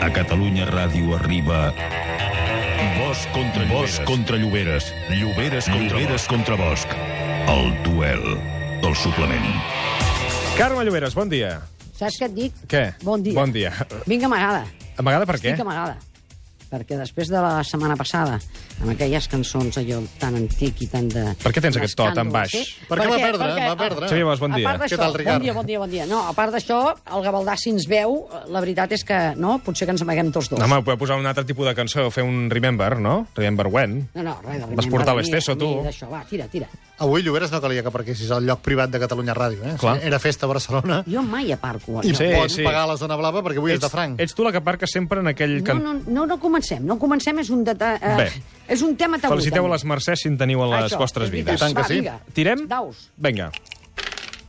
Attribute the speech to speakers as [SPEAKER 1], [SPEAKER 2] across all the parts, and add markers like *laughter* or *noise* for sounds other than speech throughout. [SPEAKER 1] A Catalunya Ràdio arriba... Bosch contra Bosch contra Lloberes. Lloberes contra, Lloberes contra Bosch. El duel del suplement.
[SPEAKER 2] Carme Lloberes, bon dia.
[SPEAKER 3] Saps què et dic?
[SPEAKER 2] Què?
[SPEAKER 3] Bon dia.
[SPEAKER 2] Bon dia.
[SPEAKER 3] Vinc amagada.
[SPEAKER 2] Amagada per què?
[SPEAKER 3] Estic amagada. Perquè després de la setmana passada, amb aquelles cançons allò tan antic i tan de...
[SPEAKER 2] Per què tens aquest to tan
[SPEAKER 3] d'escàndol,
[SPEAKER 2] baix?
[SPEAKER 4] Perquè va perdre, eh? va perdre.
[SPEAKER 2] Xavier Bosch, bon dia.
[SPEAKER 3] A part
[SPEAKER 4] Què
[SPEAKER 3] d'això,
[SPEAKER 4] tal,
[SPEAKER 3] bon
[SPEAKER 4] Ricard?
[SPEAKER 3] dia, bon dia, bon dia. No, a part d'això, el Gavaldà, si ens veu, la veritat és que, no, potser que ens amaguem tots dos.
[SPEAKER 2] Home, podeu posar un altre tipus de cançó, fer un Remember, no? Remember When.
[SPEAKER 3] No, no, res de
[SPEAKER 2] Vas portar l'esteso, tu.
[SPEAKER 3] Això, va, tira, tira.
[SPEAKER 4] Avui, Lloberes, no calia que parquessis al lloc privat de Catalunya Ràdio, eh?
[SPEAKER 2] Clar.
[SPEAKER 4] Era festa a Barcelona
[SPEAKER 3] Jo mai aparco.
[SPEAKER 4] i
[SPEAKER 3] allò.
[SPEAKER 2] Sí,
[SPEAKER 4] pots
[SPEAKER 2] sí.
[SPEAKER 4] pagar la zona blava perquè avui és de franc.
[SPEAKER 2] ets tu la que parca sempre en aquell...
[SPEAKER 3] No, no, no, no comencem, no comencem, és un, deta...
[SPEAKER 2] Bé.
[SPEAKER 3] eh, és un tema tabú.
[SPEAKER 2] Feliciteu
[SPEAKER 3] també.
[SPEAKER 2] les mercès si en teniu a les
[SPEAKER 3] Això,
[SPEAKER 2] vostres
[SPEAKER 3] és veritat.
[SPEAKER 2] vides.
[SPEAKER 4] I tant que
[SPEAKER 3] Va,
[SPEAKER 4] sí.
[SPEAKER 3] vinga.
[SPEAKER 2] Tirem?
[SPEAKER 3] Daus.
[SPEAKER 2] Vinga.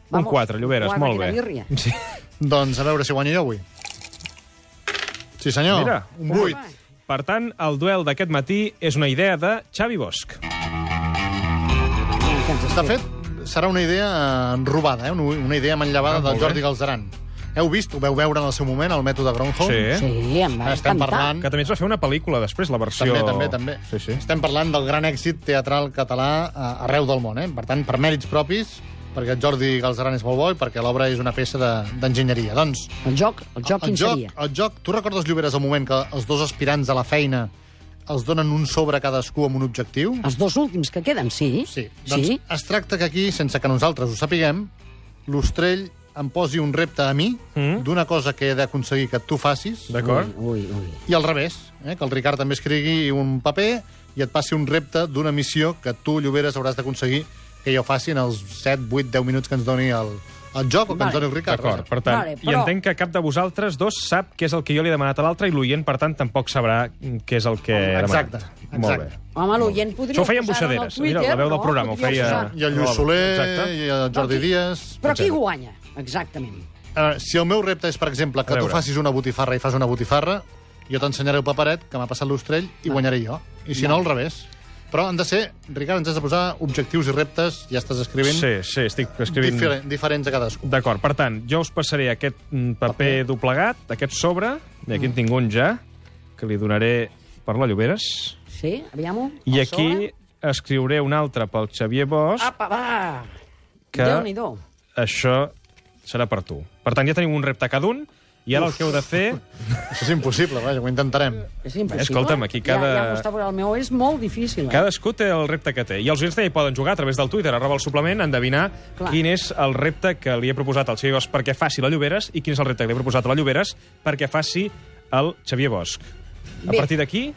[SPEAKER 2] Un
[SPEAKER 3] Vamos,
[SPEAKER 2] 4, Lloberes,
[SPEAKER 3] quatre,
[SPEAKER 2] molt
[SPEAKER 3] quina
[SPEAKER 2] bé.
[SPEAKER 3] birria.
[SPEAKER 2] Sí.
[SPEAKER 4] Doncs a veure si guanyo jo avui. Sí, senyor.
[SPEAKER 2] Mira.
[SPEAKER 4] un buit.
[SPEAKER 2] Per tant, el duel d'aquest matí és una idea de Xavi Bosch.
[SPEAKER 4] De fet, serà una idea eh, robada, eh? una una idea manllevada
[SPEAKER 2] Ah,
[SPEAKER 4] del
[SPEAKER 2] molt
[SPEAKER 4] Jordi
[SPEAKER 2] bé.
[SPEAKER 4] Galzeran. Heu vist, ho veu veure en el seu moment, el mètode Gronholm?
[SPEAKER 2] Sí.
[SPEAKER 3] Sí, em va
[SPEAKER 4] Estem
[SPEAKER 3] encantar.
[SPEAKER 4] parlant
[SPEAKER 2] Que també es va fer una pel·lícula després, la versió...
[SPEAKER 4] També, també, també.
[SPEAKER 2] Sí, sí.
[SPEAKER 4] Estem parlant del gran èxit teatral català eh, arreu del món, eh? Per tant, per mèrits propis, perquè el Jordi Galzeran és molt bo i perquè l'obra és una peça de- d'enginyeria. Doncs,
[SPEAKER 3] El joc, el joc
[SPEAKER 4] el
[SPEAKER 3] quin
[SPEAKER 4] joc,
[SPEAKER 3] seria?
[SPEAKER 4] el joc... Tu recordes, Lloberes, el moment que els dos aspirants a la feina els donen un sobre a cadascú amb un objectiu?
[SPEAKER 3] Els dos últims que queden, sí?
[SPEAKER 4] Sí. Doncs
[SPEAKER 3] Ah. sí?
[SPEAKER 4] es tracta que aquí, sense que nosaltres ho sapiguem, l'Ostrell em posi un repte a mi
[SPEAKER 2] Mm.
[SPEAKER 4] d'una cosa que he d'aconseguir que tu facis
[SPEAKER 2] D'acord?
[SPEAKER 3] Ui, ui.
[SPEAKER 4] i al revés, eh? que el Ricard també escrigui un paper i et passi un repte d'una missió que tu, Lloberes, hauràs d'aconseguir que jo faci en els 7, 8, 10 minuts que ens doni el, el joc o que
[SPEAKER 3] Vale.
[SPEAKER 4] ens doni el Ricard.
[SPEAKER 2] D'acord, per tant,
[SPEAKER 3] Vale,
[SPEAKER 2] i
[SPEAKER 3] però-
[SPEAKER 2] entenc que cap de vosaltres dos sap què és el que jo li he demanat a l'altre i l'oient, per tant, tampoc sabrà què és el que he demanat.
[SPEAKER 4] Exacte, exacte.
[SPEAKER 2] Molt bé.
[SPEAKER 3] Home, l'oient podria
[SPEAKER 2] Això ho feia amb
[SPEAKER 3] posar-ho en el
[SPEAKER 2] Buixaderes.
[SPEAKER 3] Twitter,
[SPEAKER 2] Mira, la veu del
[SPEAKER 3] no?
[SPEAKER 2] programa ho
[SPEAKER 3] Podria
[SPEAKER 2] feia-
[SPEAKER 3] posar-
[SPEAKER 4] I el Lluís Soler,
[SPEAKER 2] Exacte.
[SPEAKER 4] i el Jordi
[SPEAKER 3] Aquí.
[SPEAKER 4] Díaz...
[SPEAKER 3] Però qui
[SPEAKER 2] Exacte.
[SPEAKER 3] guanya? Exactament.
[SPEAKER 4] Eh, si el meu repte és, per exemple,
[SPEAKER 2] A
[SPEAKER 4] que tu
[SPEAKER 2] veure.
[SPEAKER 4] facis una botifarra i fas una botifarra, jo t'ensenyaré el paperet que m'ha passat l'Ostrell
[SPEAKER 3] Ah.
[SPEAKER 4] i guanyaré jo. I si no, al revés. Però han de ser, Ricard, ens has de posar objectius i reptes, ja estàs escrivent,
[SPEAKER 2] Sí, sí, estic escrivint...
[SPEAKER 4] difer diferents a cadascú.
[SPEAKER 2] D'acord, per tant, jo us passaré aquest mm, paper doblegat, aquest sobre, i aquí en tinc un ja, que li donaré per la Lloberes,
[SPEAKER 3] Sí, aviam-ho.
[SPEAKER 2] i
[SPEAKER 3] El
[SPEAKER 2] aquí
[SPEAKER 3] sobre. Ah.
[SPEAKER 2] escriuré un altre pel Xavier Bosch,
[SPEAKER 3] Apa, va!
[SPEAKER 2] Que-
[SPEAKER 3] Que... Déu-n'hi-do.
[SPEAKER 2] això serà per tu. Per tant, ja teniu un repte cada un, i ara el que heu de fer...
[SPEAKER 4] Això és impossible, vaja, ho intentarem.
[SPEAKER 3] És impossible.
[SPEAKER 2] Escolta'm, aquí cada-
[SPEAKER 3] Ja, ja m'ho està veure, el meu és molt difícil. Eh?
[SPEAKER 2] Cadascú té el repte que té. I els oients també poden jugar a través del Twitter, arroba el suplement, a endevinar Clar.
[SPEAKER 3] Clar.
[SPEAKER 2] quin és el repte que li he proposat al Xavier Bosch perquè faci la Lloberes i quin és el repte que li he proposat a la Lloberes perquè faci el Xavier Bosch. A
[SPEAKER 3] Bé.
[SPEAKER 2] partir d'aquí,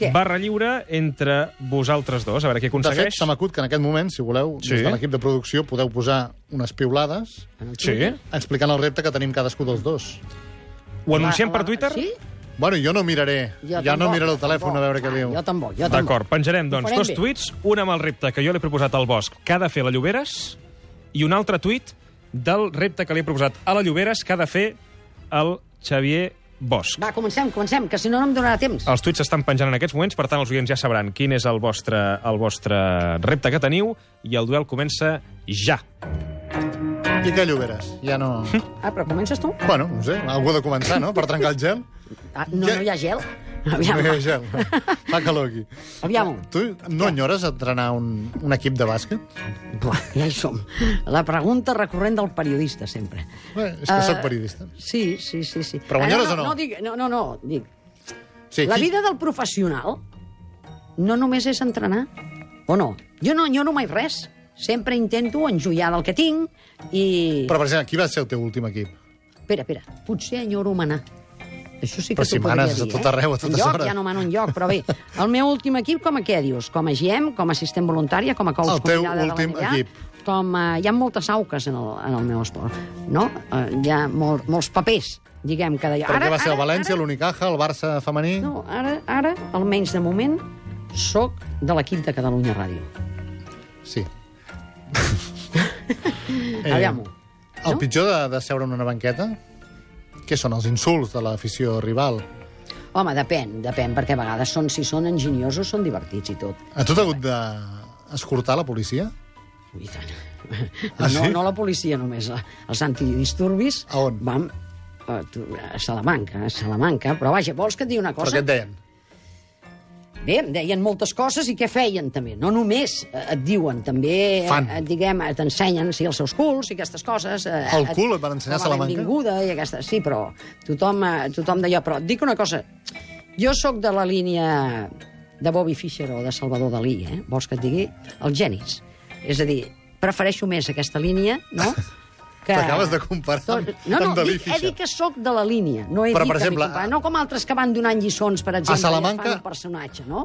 [SPEAKER 3] Què?
[SPEAKER 2] barra lliure entre vosaltres dos, a veure què
[SPEAKER 4] De fet,
[SPEAKER 2] aconsegueix.
[SPEAKER 4] se m'acut que en aquest moment, si voleu,
[SPEAKER 2] Sí.
[SPEAKER 4] des de l'equip de producció podeu posar unes piulades
[SPEAKER 3] En el
[SPEAKER 2] sí.
[SPEAKER 3] Twitter.
[SPEAKER 4] explicant el repte que tenim cadascú dels dos.
[SPEAKER 2] Ho anunciem
[SPEAKER 3] Va,
[SPEAKER 2] per
[SPEAKER 3] va,
[SPEAKER 2] Twitter?
[SPEAKER 3] Ah, Sí?
[SPEAKER 4] Bueno, jo no miraré.
[SPEAKER 3] Jo
[SPEAKER 4] ja no
[SPEAKER 3] tampoc,
[SPEAKER 4] miraré el telèfon
[SPEAKER 3] tampoc.
[SPEAKER 4] a veure què
[SPEAKER 3] Ah,
[SPEAKER 4] diu.
[SPEAKER 3] Jo tampoc, jo tampoc.
[SPEAKER 2] D'acord, penjarem,
[SPEAKER 3] Ho
[SPEAKER 2] doncs,
[SPEAKER 3] farem
[SPEAKER 2] dos
[SPEAKER 3] bé.
[SPEAKER 2] tuits, un amb el repte que jo li he proposat al Bosch que ha de fer la Lloberes i un altre tuit del repte que li he proposat a la Lloberes que ha de fer el Xavier Bosch.
[SPEAKER 3] Va, comencem, comencem, que si no no em donarà temps.
[SPEAKER 4] Ah.
[SPEAKER 2] Els tuits s'estan penjant en aquests moments, per tant, els oients ja sabran quin és el vostre, el vostre repte que teniu i el duel comença ja.
[SPEAKER 4] I què, Lloberes? Ja no...
[SPEAKER 3] Ah, però comences tu?
[SPEAKER 4] bueno, no sé, algú ha de començar, no?, per trencar el
[SPEAKER 3] *laughs*
[SPEAKER 4] gel.
[SPEAKER 3] Ah, no,
[SPEAKER 4] Ja-
[SPEAKER 3] no hi ha gel.
[SPEAKER 4] No
[SPEAKER 3] Aviam,
[SPEAKER 4] hi ha
[SPEAKER 3] va, *laughs*
[SPEAKER 4] gel. Fa calor aquí.
[SPEAKER 3] aviam.
[SPEAKER 4] Tu no enyores entrenar un, un equip de bàsquet?
[SPEAKER 3] Buah, ja hi som. La pregunta recurrent del periodista, sempre.
[SPEAKER 4] Bé, és
[SPEAKER 3] Eh,
[SPEAKER 4] que sóc periodista.
[SPEAKER 3] Sí, sí, sí. sí.
[SPEAKER 4] Però guanyaràs
[SPEAKER 3] Ah, no,
[SPEAKER 4] o no?
[SPEAKER 3] No, dic, no, no, no, dic.
[SPEAKER 4] Sí,
[SPEAKER 3] La
[SPEAKER 4] qui-
[SPEAKER 3] vida del professional no només és entrenar, o no? Jo no enyoro mai res. Sempre intento enjullar del que tinc i...
[SPEAKER 4] Però, per exemple, qui va ser el teu últim equip?
[SPEAKER 3] Espera, espera, potser enyoro manar. Això sí que
[SPEAKER 4] Però
[SPEAKER 3] t'ho
[SPEAKER 4] si
[SPEAKER 3] podria
[SPEAKER 4] manes a
[SPEAKER 3] dir,
[SPEAKER 4] tot
[SPEAKER 3] eh?
[SPEAKER 4] arreu, a totes
[SPEAKER 3] Enlloc,
[SPEAKER 4] hores.
[SPEAKER 3] Ja no mano enlloc, però bé. El meu últim equip, com a què dius? Com a GM, com a assistent voluntària, com a coach
[SPEAKER 4] El teu
[SPEAKER 3] convidada de la
[SPEAKER 4] últim
[SPEAKER 3] NBA?
[SPEAKER 4] equip.
[SPEAKER 3] Com a... Hi ha moltes auques en el, en el meu esport, no? Eh, Hi ha mol, molts papers, diguem, que deia...
[SPEAKER 4] Perquè va ser el València,
[SPEAKER 3] ara,
[SPEAKER 4] l'Unicaja, el Barça femení...
[SPEAKER 3] No, ara, ara, almenys de moment, sóc de l'equip de Catalunya Ràdio.
[SPEAKER 4] Sí.
[SPEAKER 3] Eh, Aviam-ho.
[SPEAKER 4] El
[SPEAKER 3] No?
[SPEAKER 4] pitjor de, de seure en una banqueta? Què són els insults de l'afició rival?
[SPEAKER 3] Home, depèn, depèn, perquè a vegades són, si són enginyosos, són divertits i tot.
[SPEAKER 4] A tu t'ha hagut d'escortar la policia?
[SPEAKER 3] Ui, i tant.
[SPEAKER 4] Ah,
[SPEAKER 3] no,
[SPEAKER 4] sí?
[SPEAKER 3] no la policia només, eh, els antidisturbis.
[SPEAKER 4] A on?
[SPEAKER 3] Vam eh, tu, a Salamanca, a Salamanca. Però vaja, vols que et digui una
[SPEAKER 4] Però
[SPEAKER 3] cosa?
[SPEAKER 4] què et deien?
[SPEAKER 3] Bé, em deien moltes coses i què feien, també. No només eh, et diuen, també, eh,
[SPEAKER 4] Fan.
[SPEAKER 3] et, diguem, eh, t'ensenyen, sí, els seus culs i aquestes coses. Eh,
[SPEAKER 4] El cul et van ensenyar
[SPEAKER 3] com
[SPEAKER 4] a Salamanca?
[SPEAKER 3] benvinguda i aquestes... Sí, però tothom, eh, tothom deia... Però et dic una cosa, jo sóc de la línia de Bobby Fischer o de Salvador Dalí, eh? vols que et digui? Els genis. És a dir, prefereixo més aquesta línia, no?, que...
[SPEAKER 4] *laughs* T'acabes de comparar
[SPEAKER 3] Tot-
[SPEAKER 4] amb-
[SPEAKER 3] no, no,
[SPEAKER 4] amb Dalí
[SPEAKER 3] dic, he
[SPEAKER 4] Fischer.
[SPEAKER 3] dit que sóc de la línia, no he
[SPEAKER 4] Però,
[SPEAKER 3] dit
[SPEAKER 4] per
[SPEAKER 3] que m'hi
[SPEAKER 4] exemple,
[SPEAKER 3] comparo. No com altres que van donant lliçons, per exemple, i es
[SPEAKER 4] Salamanca-
[SPEAKER 3] fan un personatge, no?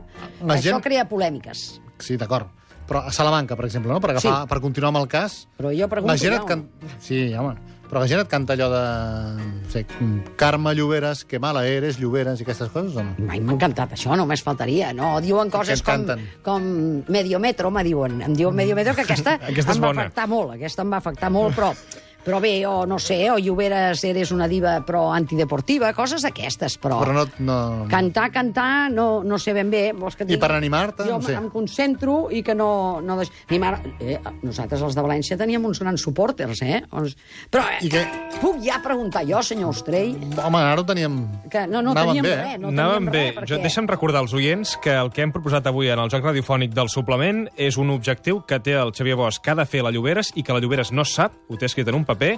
[SPEAKER 4] La
[SPEAKER 3] Això
[SPEAKER 4] gent-
[SPEAKER 3] crea polèmiques.
[SPEAKER 4] Sí, d'acord. Però a Salamanca, per exemple, no? per, agafar,
[SPEAKER 3] Sí.
[SPEAKER 4] per continuar amb el cas...
[SPEAKER 3] Però jo pregunto
[SPEAKER 4] la gent
[SPEAKER 3] ja
[SPEAKER 4] et
[SPEAKER 3] on.
[SPEAKER 4] can... Sí, home. Però la gent et canta allò de... No sé, Carme Lloberes, que mala eres, Lloberes, i aquestes coses, o no?
[SPEAKER 3] Mai m'ha encantat això, només faltaria. No, diuen coses
[SPEAKER 4] et
[SPEAKER 3] com,
[SPEAKER 4] canten. Mm.
[SPEAKER 3] com Mediometro, me diuen. Em diuen Mediometro, que
[SPEAKER 4] *laughs*
[SPEAKER 3] aquesta,
[SPEAKER 2] Aquesta és
[SPEAKER 3] em va
[SPEAKER 2] bona.
[SPEAKER 3] afectar molt, aquesta em va afectar molt, però... Però bé, o no sé, o Lloberes eres una diva però antideportiva, coses d'aquestes, però...
[SPEAKER 4] Però no... no...
[SPEAKER 3] Cantar, cantar, no, no sé ben bé. Vols que et
[SPEAKER 4] I
[SPEAKER 3] digui?
[SPEAKER 4] per animar-te,
[SPEAKER 3] Jo
[SPEAKER 4] no sé.
[SPEAKER 3] em concentro i que no... no deix... Animar... Eh, nosaltres, els de València, teníem uns grans supporters, eh? Uns- Però eh,
[SPEAKER 4] I què?
[SPEAKER 3] puc ja preguntar jo, senyor Ostrell,
[SPEAKER 4] Home, ara ho teníem...
[SPEAKER 3] que no, no
[SPEAKER 4] Anàvem
[SPEAKER 3] teníem
[SPEAKER 4] bé,
[SPEAKER 3] res.
[SPEAKER 4] eh?
[SPEAKER 3] No
[SPEAKER 2] Anàvem
[SPEAKER 3] teníem
[SPEAKER 2] bé.
[SPEAKER 3] Res,
[SPEAKER 2] Jo,
[SPEAKER 3] perquè...
[SPEAKER 2] deixa'm recordar als oients que el que hem proposat avui en el joc radiofònic del suplement és un objectiu que té el Xavier Bosch que ha de fer la Lloberes i que la Lloberes no sap, ho té escrit en un paper,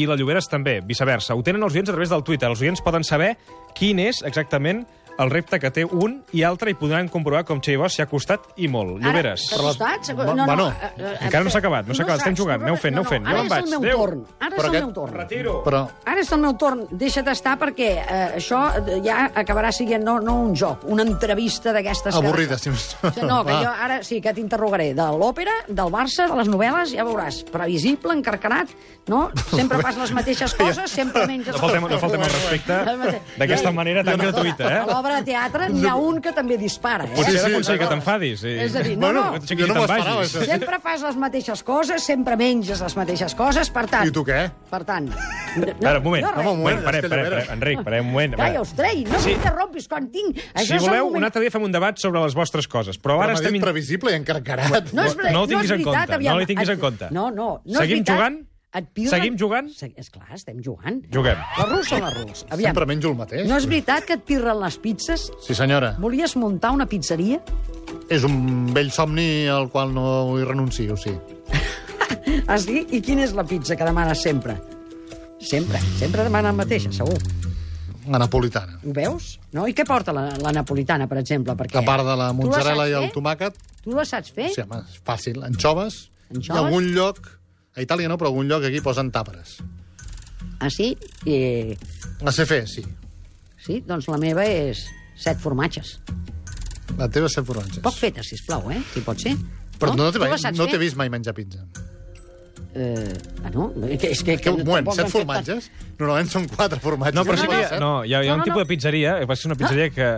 [SPEAKER 2] i la Lloberes també, viceversa. Ho tenen els oients a través del Twitter. Els oients poden saber quin és exactament el repte que té un i altre i podran comprovar com Xavier Bosch s'hi ha costat i molt. Lloberes.
[SPEAKER 3] Ara, t'has assustat? Segur-
[SPEAKER 4] Va- va, no.
[SPEAKER 3] eh, eh,
[SPEAKER 2] Encara no s'ha acabat, no s'ha acabat, estem
[SPEAKER 3] saps,
[SPEAKER 2] jugant, aneu fent,
[SPEAKER 3] no,
[SPEAKER 2] aneu fent,
[SPEAKER 3] no,
[SPEAKER 2] jo
[SPEAKER 3] Ara
[SPEAKER 2] me'n
[SPEAKER 3] és
[SPEAKER 2] vaig,
[SPEAKER 3] el meu
[SPEAKER 2] adéu.
[SPEAKER 3] torn, ara és
[SPEAKER 4] Però
[SPEAKER 3] el
[SPEAKER 4] aquest-
[SPEAKER 3] meu torn.
[SPEAKER 2] Retiro.
[SPEAKER 4] Però...
[SPEAKER 3] Ara és el meu torn, deixa't estar perquè eh, això eh, ja acabarà sent no, no un joc, una entrevista d'aquestes... que-
[SPEAKER 4] Avorrida, si més
[SPEAKER 3] *laughs*
[SPEAKER 4] no.
[SPEAKER 3] No, que
[SPEAKER 4] Va.
[SPEAKER 3] jo ara sí que t'interrogaré de l'òpera, del Barça, de les novel·les, ja veuràs, previsible, encarcarat, no? Sempre fas les
[SPEAKER 2] *laughs*
[SPEAKER 3] mateixes coses, sempre menges...
[SPEAKER 2] No faltem, no faltem el
[SPEAKER 3] *laughs*
[SPEAKER 2] respecte d'aquesta manera tan gratuïta,
[SPEAKER 3] A
[SPEAKER 2] eh?
[SPEAKER 3] l'obra de teatre n'hi ha un que també dispara, eh?
[SPEAKER 2] Potser sí,
[SPEAKER 4] Sí, sí,
[SPEAKER 2] d'aconseguir que
[SPEAKER 4] d'acord.
[SPEAKER 2] t'enfadis. i-
[SPEAKER 3] És a dir, no,
[SPEAKER 4] Bueno,
[SPEAKER 3] no.
[SPEAKER 2] potser que
[SPEAKER 4] jo no
[SPEAKER 2] te'n
[SPEAKER 4] m'ho esperava,
[SPEAKER 2] vagis.
[SPEAKER 4] això.
[SPEAKER 3] Sempre fas les mateixes coses, sempre menges les mateixes coses, per tant...
[SPEAKER 4] I tu què?
[SPEAKER 3] Per tant... No,
[SPEAKER 2] A veure, un moment.
[SPEAKER 3] No, res.
[SPEAKER 4] Home, un moment,
[SPEAKER 2] Bueno, parem,
[SPEAKER 4] és que
[SPEAKER 2] parem,
[SPEAKER 4] Lloberes.
[SPEAKER 2] parem, Enric, parem un moment. a veure.
[SPEAKER 3] Calla, ostrell, no sí. m'interrompis quan tinc...
[SPEAKER 2] Si
[SPEAKER 3] és el
[SPEAKER 2] voleu,
[SPEAKER 3] moment-
[SPEAKER 2] un altre dia fem un debat sobre les vostres coses, però
[SPEAKER 4] Però
[SPEAKER 2] ara
[SPEAKER 4] m'ha
[SPEAKER 2] estem...
[SPEAKER 4] dit
[SPEAKER 2] in-
[SPEAKER 4] previsible i encarcarat.
[SPEAKER 3] No, és, ver-
[SPEAKER 2] No ho
[SPEAKER 3] és
[SPEAKER 2] tinguis en
[SPEAKER 3] veritat,
[SPEAKER 2] compte,
[SPEAKER 3] aviam.
[SPEAKER 2] no ho tinguis
[SPEAKER 3] Et-
[SPEAKER 2] en compte.
[SPEAKER 3] No, no, no
[SPEAKER 2] Seguim
[SPEAKER 3] és veritat.
[SPEAKER 2] jugant?
[SPEAKER 3] Et pido
[SPEAKER 2] Seguim
[SPEAKER 3] la-
[SPEAKER 2] jugant?
[SPEAKER 3] Se... És clar, estem jugant.
[SPEAKER 2] Juguem.
[SPEAKER 3] La rus o la rus? Aviam,
[SPEAKER 4] Sempre menjo el mateix.
[SPEAKER 3] no és veritat que et pirren les pizzas?
[SPEAKER 4] Sí, senyora.
[SPEAKER 3] Volies muntar una pizzeria?
[SPEAKER 4] És un vell somni al qual no hi renuncio, sí.
[SPEAKER 3] Has dit? I quina és la pizza que demanes sempre? Sempre, sempre demana la mateixa, segur.
[SPEAKER 4] La napolitana.
[SPEAKER 3] Ho veus? No? I què porta la, la napolitana, per exemple? Perquè...
[SPEAKER 4] A part de la
[SPEAKER 3] Tu
[SPEAKER 4] mozzarella i
[SPEAKER 3] saps
[SPEAKER 4] el
[SPEAKER 3] fer? Eh?
[SPEAKER 4] tomàquet,
[SPEAKER 3] Tu la saps fer?
[SPEAKER 4] Sí, home, és fàcil. Anchoves.
[SPEAKER 3] Anchoves?
[SPEAKER 4] Anchoves? I algun lloc, a Itàlia no, però algun lloc aquí posen tàperes.
[SPEAKER 3] Ah, sí? I...
[SPEAKER 4] La sé fer, sí.
[SPEAKER 3] Sí? Doncs la meva és set formatges.
[SPEAKER 4] La teva set formatges.
[SPEAKER 3] Poc feta, sisplau, eh? Si pot ser.
[SPEAKER 4] Però no, no
[SPEAKER 3] Tu
[SPEAKER 4] t'he
[SPEAKER 3] la
[SPEAKER 4] mai-
[SPEAKER 3] saps
[SPEAKER 4] no
[SPEAKER 3] fer?
[SPEAKER 4] t'he vist mai menjar pizza.
[SPEAKER 3] Eh, ah, no? És que, és que,
[SPEAKER 4] Que, un moment,
[SPEAKER 3] tampoc
[SPEAKER 4] set
[SPEAKER 3] hem fet tant.
[SPEAKER 4] formatges? Normalment són quatre formatges.
[SPEAKER 2] No, però
[SPEAKER 3] No,
[SPEAKER 2] sí
[SPEAKER 3] no,
[SPEAKER 2] que hi
[SPEAKER 3] no.
[SPEAKER 2] ha, no, hi ha, hi ha
[SPEAKER 3] No,
[SPEAKER 2] un
[SPEAKER 3] no, Ah.
[SPEAKER 2] tipus
[SPEAKER 3] no.
[SPEAKER 2] de pizzeria, eh, va ser una pizzeria que...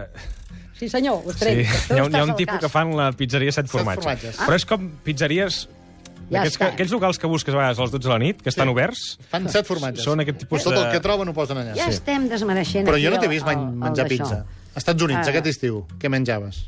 [SPEAKER 3] Sí, senyor,
[SPEAKER 2] Sí, *laughs*
[SPEAKER 3] Ostrell.
[SPEAKER 2] hi ha, un- hi ha un tipus que fan la pizzeria set formatges.
[SPEAKER 4] formatges.
[SPEAKER 2] Però és com pizzeries...
[SPEAKER 3] Ah. Ja
[SPEAKER 2] Aquests,
[SPEAKER 3] està.
[SPEAKER 2] aquells locals que busques a vegades a les 12 de la nit, que estan oberts,
[SPEAKER 4] Fan set formatges.
[SPEAKER 2] són aquest tipus
[SPEAKER 4] Tot el
[SPEAKER 2] de-
[SPEAKER 4] que troben ho posen allà.
[SPEAKER 3] Ja
[SPEAKER 4] Sí.
[SPEAKER 3] estem desmereixent
[SPEAKER 4] Però
[SPEAKER 3] aquí
[SPEAKER 4] jo no t'he
[SPEAKER 3] el-
[SPEAKER 4] vist mai
[SPEAKER 3] el- el
[SPEAKER 4] menjar
[SPEAKER 3] d'això.
[SPEAKER 4] pizza. A Estats Units,
[SPEAKER 3] Ah.
[SPEAKER 4] aquest estiu, què menjaves?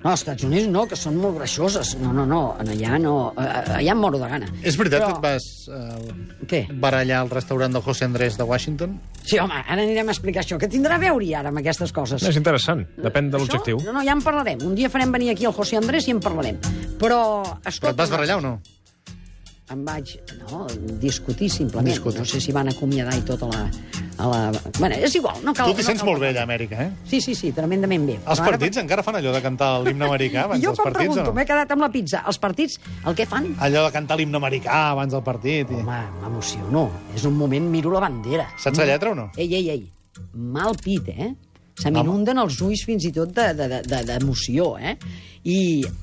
[SPEAKER 3] No, als Estats Units no, que són molt greixoses. No, no, no, allà no... eh, Allà em moro de gana.
[SPEAKER 4] És veritat
[SPEAKER 3] Però-
[SPEAKER 4] que et vas eh,
[SPEAKER 3] Què?
[SPEAKER 4] barallar al restaurant del José Andrés de Washington?
[SPEAKER 3] Sí, home, ara anirem a explicar això. Què tindrà a veure-hi ara amb aquestes coses?
[SPEAKER 2] No, és interessant, depèn de
[SPEAKER 3] Això?
[SPEAKER 2] l'objectiu.
[SPEAKER 3] No, no, ja en parlarem. Un dia farem venir aquí el José Andrés i en parlarem. Però, escolta...
[SPEAKER 4] Però et vas barallar o no?
[SPEAKER 3] Em vaig no, discutir, simplement.
[SPEAKER 4] Discutir.
[SPEAKER 3] No sé si van acomiadar i tot a la... A la... Bueno, és igual, no cal...
[SPEAKER 4] Tu t'hi
[SPEAKER 3] no
[SPEAKER 4] sents
[SPEAKER 3] cal-
[SPEAKER 4] molt bé allà, a Amèrica, eh?
[SPEAKER 3] Sí, sí, sí, tremendament bé.
[SPEAKER 4] Els
[SPEAKER 3] Però ara-
[SPEAKER 4] partits encara fan allò de cantar l'himne americà abans
[SPEAKER 3] I jo
[SPEAKER 4] dels
[SPEAKER 3] quan
[SPEAKER 4] partits, o
[SPEAKER 3] pregunto,
[SPEAKER 4] no?
[SPEAKER 3] m'he quedat amb la pizza. Els partits, el que fan?
[SPEAKER 4] Allò de cantar l'himne americà abans del partit. I...
[SPEAKER 3] Home, m'emociono. És un moment, miro la bandera.
[SPEAKER 4] Saps la lletra o no?
[SPEAKER 3] Ei, ei, ei, mal pit, eh? Se m'inunden els ulls fins i tot de- de- de- de- d'emoció, de, eh? I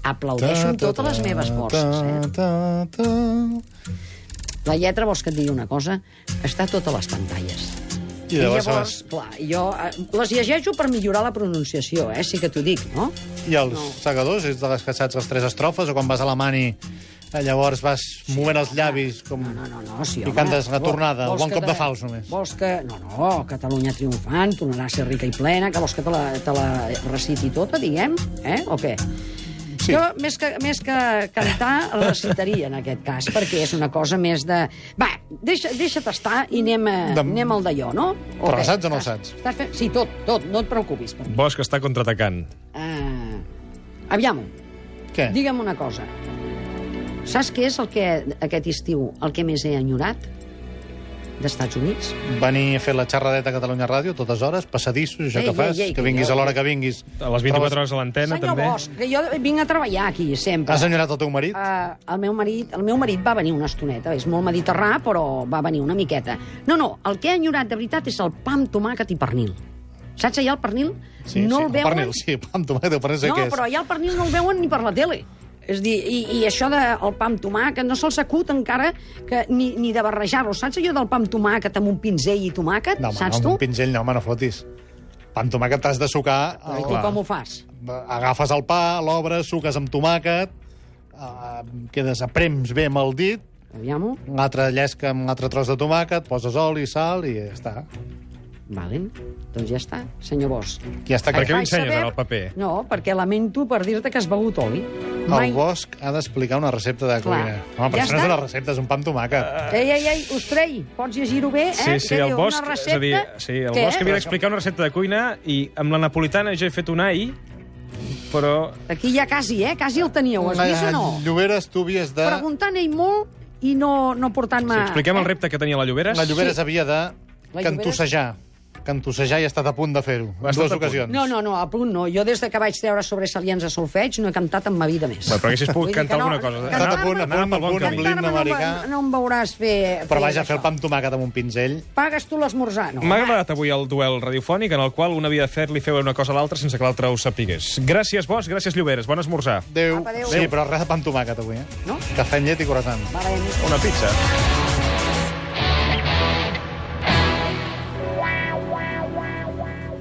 [SPEAKER 3] aplaudeixo amb totes les meves forces, eh?
[SPEAKER 4] Ta, ta, ta.
[SPEAKER 3] La lletra, vols que et digui una cosa? Està a totes les pantalles.
[SPEAKER 4] I llavors,
[SPEAKER 3] llavors, clar, jo eh, les llegeixo per millorar la pronunciació, eh? Sí que t'ho dic, no?
[SPEAKER 4] I els segadors, és de les que saps les tres estrofes, o quan vas a la mani, eh, llavors vas movent els llavis com...
[SPEAKER 3] No, no, no, sí,
[SPEAKER 4] I cantes la
[SPEAKER 3] Vol-
[SPEAKER 4] tornada, el
[SPEAKER 3] vols
[SPEAKER 4] bon
[SPEAKER 3] que
[SPEAKER 4] cop
[SPEAKER 3] te-
[SPEAKER 4] de fals, només.
[SPEAKER 3] Vols que... No, no, Catalunya triomfant, tornarà a ser rica i plena, que vols que te la, te la reciti tota, diguem, eh? O què? Sí. Jo, més que, més que cantar, recitaria, en aquest cas, perquè és una cosa més de... Va, deixa, deixa't estar i anem, a,
[SPEAKER 4] De-
[SPEAKER 3] anem al d'allò, no?
[SPEAKER 4] Però
[SPEAKER 3] bé,
[SPEAKER 4] saps o no
[SPEAKER 3] estàs-
[SPEAKER 4] saps?
[SPEAKER 3] Estàs fent... Sí, tot, tot, no et preocupis. Per mi.
[SPEAKER 2] Bosch està contraatacant.
[SPEAKER 3] Uh, aviam,
[SPEAKER 4] Què?
[SPEAKER 3] digue'm una cosa. Saps què és el que aquest estiu el que més he enyorat? d'Estats Units?
[SPEAKER 4] Venir a fer la xerradeta a Catalunya Ràdio, totes hores, passadissos, això
[SPEAKER 3] Ei,
[SPEAKER 4] que
[SPEAKER 3] ei,
[SPEAKER 4] fas,
[SPEAKER 3] ei,
[SPEAKER 4] que
[SPEAKER 3] que
[SPEAKER 4] vinguis
[SPEAKER 3] jo-
[SPEAKER 4] a l'hora que vinguis.
[SPEAKER 2] A les 24 hores a l'antena,
[SPEAKER 3] Senyor
[SPEAKER 2] també.
[SPEAKER 3] Bosch, que jo vinc a treballar aquí, sempre.
[SPEAKER 4] Has enyorat el teu marit?
[SPEAKER 3] Uh, el, meu marit, el meu marit va venir una estoneta, és molt mediterrà, però va venir una miqueta. No, no, el que he enyorat de veritat és el pa amb tomàquet i pernil. Saps allà el pernil?
[SPEAKER 4] Sí,
[SPEAKER 3] no
[SPEAKER 4] sí,
[SPEAKER 3] el veuen...
[SPEAKER 4] Pernil, sí, *laughs* pa amb tomàquet, el pernil sé
[SPEAKER 3] no,
[SPEAKER 4] què és.
[SPEAKER 3] però allà el pernil no el veuen ni per la tele. És a dir, i, i això del de, el pa amb tomàquet no se'ls acut encara que, ni, ni de barrejar-lo. Saps allò del pa amb tomàquet amb un pinzell i tomàquet?
[SPEAKER 4] No, home,
[SPEAKER 3] Saps
[SPEAKER 4] no,
[SPEAKER 3] tu?
[SPEAKER 4] amb un pinzell, no, home, no fotis. Pa amb tomàquet t'has de sucar...
[SPEAKER 3] Però Ah, I tu
[SPEAKER 4] la-
[SPEAKER 3] com ho fas?
[SPEAKER 4] Agafes el pa, l'obres, suques amb tomàquet, eh, quedes aprems bé amb el dit,
[SPEAKER 3] Aviam-ho.
[SPEAKER 4] un altre llesca amb un altre tros de tomàquet, poses oli, sal i ja està.
[SPEAKER 3] Vale. Doncs ja està, senyor Bosch.
[SPEAKER 4] Ja està.
[SPEAKER 2] Per
[SPEAKER 4] clar.
[SPEAKER 2] què
[SPEAKER 3] Vaig
[SPEAKER 2] m'ensenyen
[SPEAKER 3] saber-
[SPEAKER 2] en el paper?
[SPEAKER 3] No, perquè lamento per dir-te que has begut oli.
[SPEAKER 4] El Bosch ha d'explicar una recepta de
[SPEAKER 3] Clar.
[SPEAKER 4] cuina. Home,
[SPEAKER 3] Ja
[SPEAKER 4] però ja això no
[SPEAKER 3] està.
[SPEAKER 4] és una recepta, és un pa amb tomàquet.
[SPEAKER 3] Ei, ei, ei, Ostrell, pots llegir-ho bé, eh?
[SPEAKER 2] Sí, sí,
[SPEAKER 3] Que
[SPEAKER 2] el
[SPEAKER 3] diu,
[SPEAKER 2] Bosch,
[SPEAKER 3] una
[SPEAKER 2] és
[SPEAKER 3] recepta...
[SPEAKER 2] a dir, sí, el
[SPEAKER 3] Què?
[SPEAKER 2] Bosch havia d'explicar una recepta de cuina i amb la napolitana ja he fet un ai, però
[SPEAKER 3] Aquí ja quasi, eh? Quasi el teníeu, has vist o no?
[SPEAKER 4] Lloberes, tu havies Eh, de...
[SPEAKER 3] Preguntant ell molt i no, no portant-me...
[SPEAKER 2] si expliquem el
[SPEAKER 3] eh?
[SPEAKER 2] repte que tenia la Lloberes...
[SPEAKER 4] La Lloberes sí. havia de
[SPEAKER 3] La
[SPEAKER 4] cantussejar. Cantussejar i ha estat a punt de fer-ho.
[SPEAKER 2] Ha
[SPEAKER 4] En
[SPEAKER 2] estat
[SPEAKER 4] dues
[SPEAKER 2] a punt.
[SPEAKER 4] ocasions.
[SPEAKER 3] No, no, no, a punt no. Jo des de que vaig treure sobresalients a solfeig no he cantat en ma vida més.
[SPEAKER 2] Bueno, però haguessis
[SPEAKER 3] Vull
[SPEAKER 2] pogut
[SPEAKER 3] dir que
[SPEAKER 2] cantar
[SPEAKER 3] no,
[SPEAKER 2] alguna cosa. eh? Ah,
[SPEAKER 3] cantar-me
[SPEAKER 4] Anava a punt, a
[SPEAKER 2] anava
[SPEAKER 4] punt,
[SPEAKER 2] pel
[SPEAKER 4] a
[SPEAKER 2] bon
[SPEAKER 4] punt, amb
[SPEAKER 2] camí.
[SPEAKER 4] l'himne
[SPEAKER 3] Cantar-me no,
[SPEAKER 4] americà.
[SPEAKER 3] em- no em veuràs fer...
[SPEAKER 4] Però vaja,
[SPEAKER 3] això.
[SPEAKER 4] fer el pa amb tomàquet amb un pinzell...
[SPEAKER 3] Pagues tu l'esmorzar, no?
[SPEAKER 2] M'ha agradat avui el duel radiofònic en el qual un havia de fer-li fer una cosa a l'altra sense que l'altre ho sapigués. Gràcies, Bosch, gràcies, Lloberes. Bon esmorzar.
[SPEAKER 4] Déu.
[SPEAKER 3] Apa, adéu.
[SPEAKER 4] Sí, però res de pa amb tomàquet avui, eh?
[SPEAKER 3] No?
[SPEAKER 4] Cafè amb llet i croissant.
[SPEAKER 3] Valent.
[SPEAKER 2] Una pizza.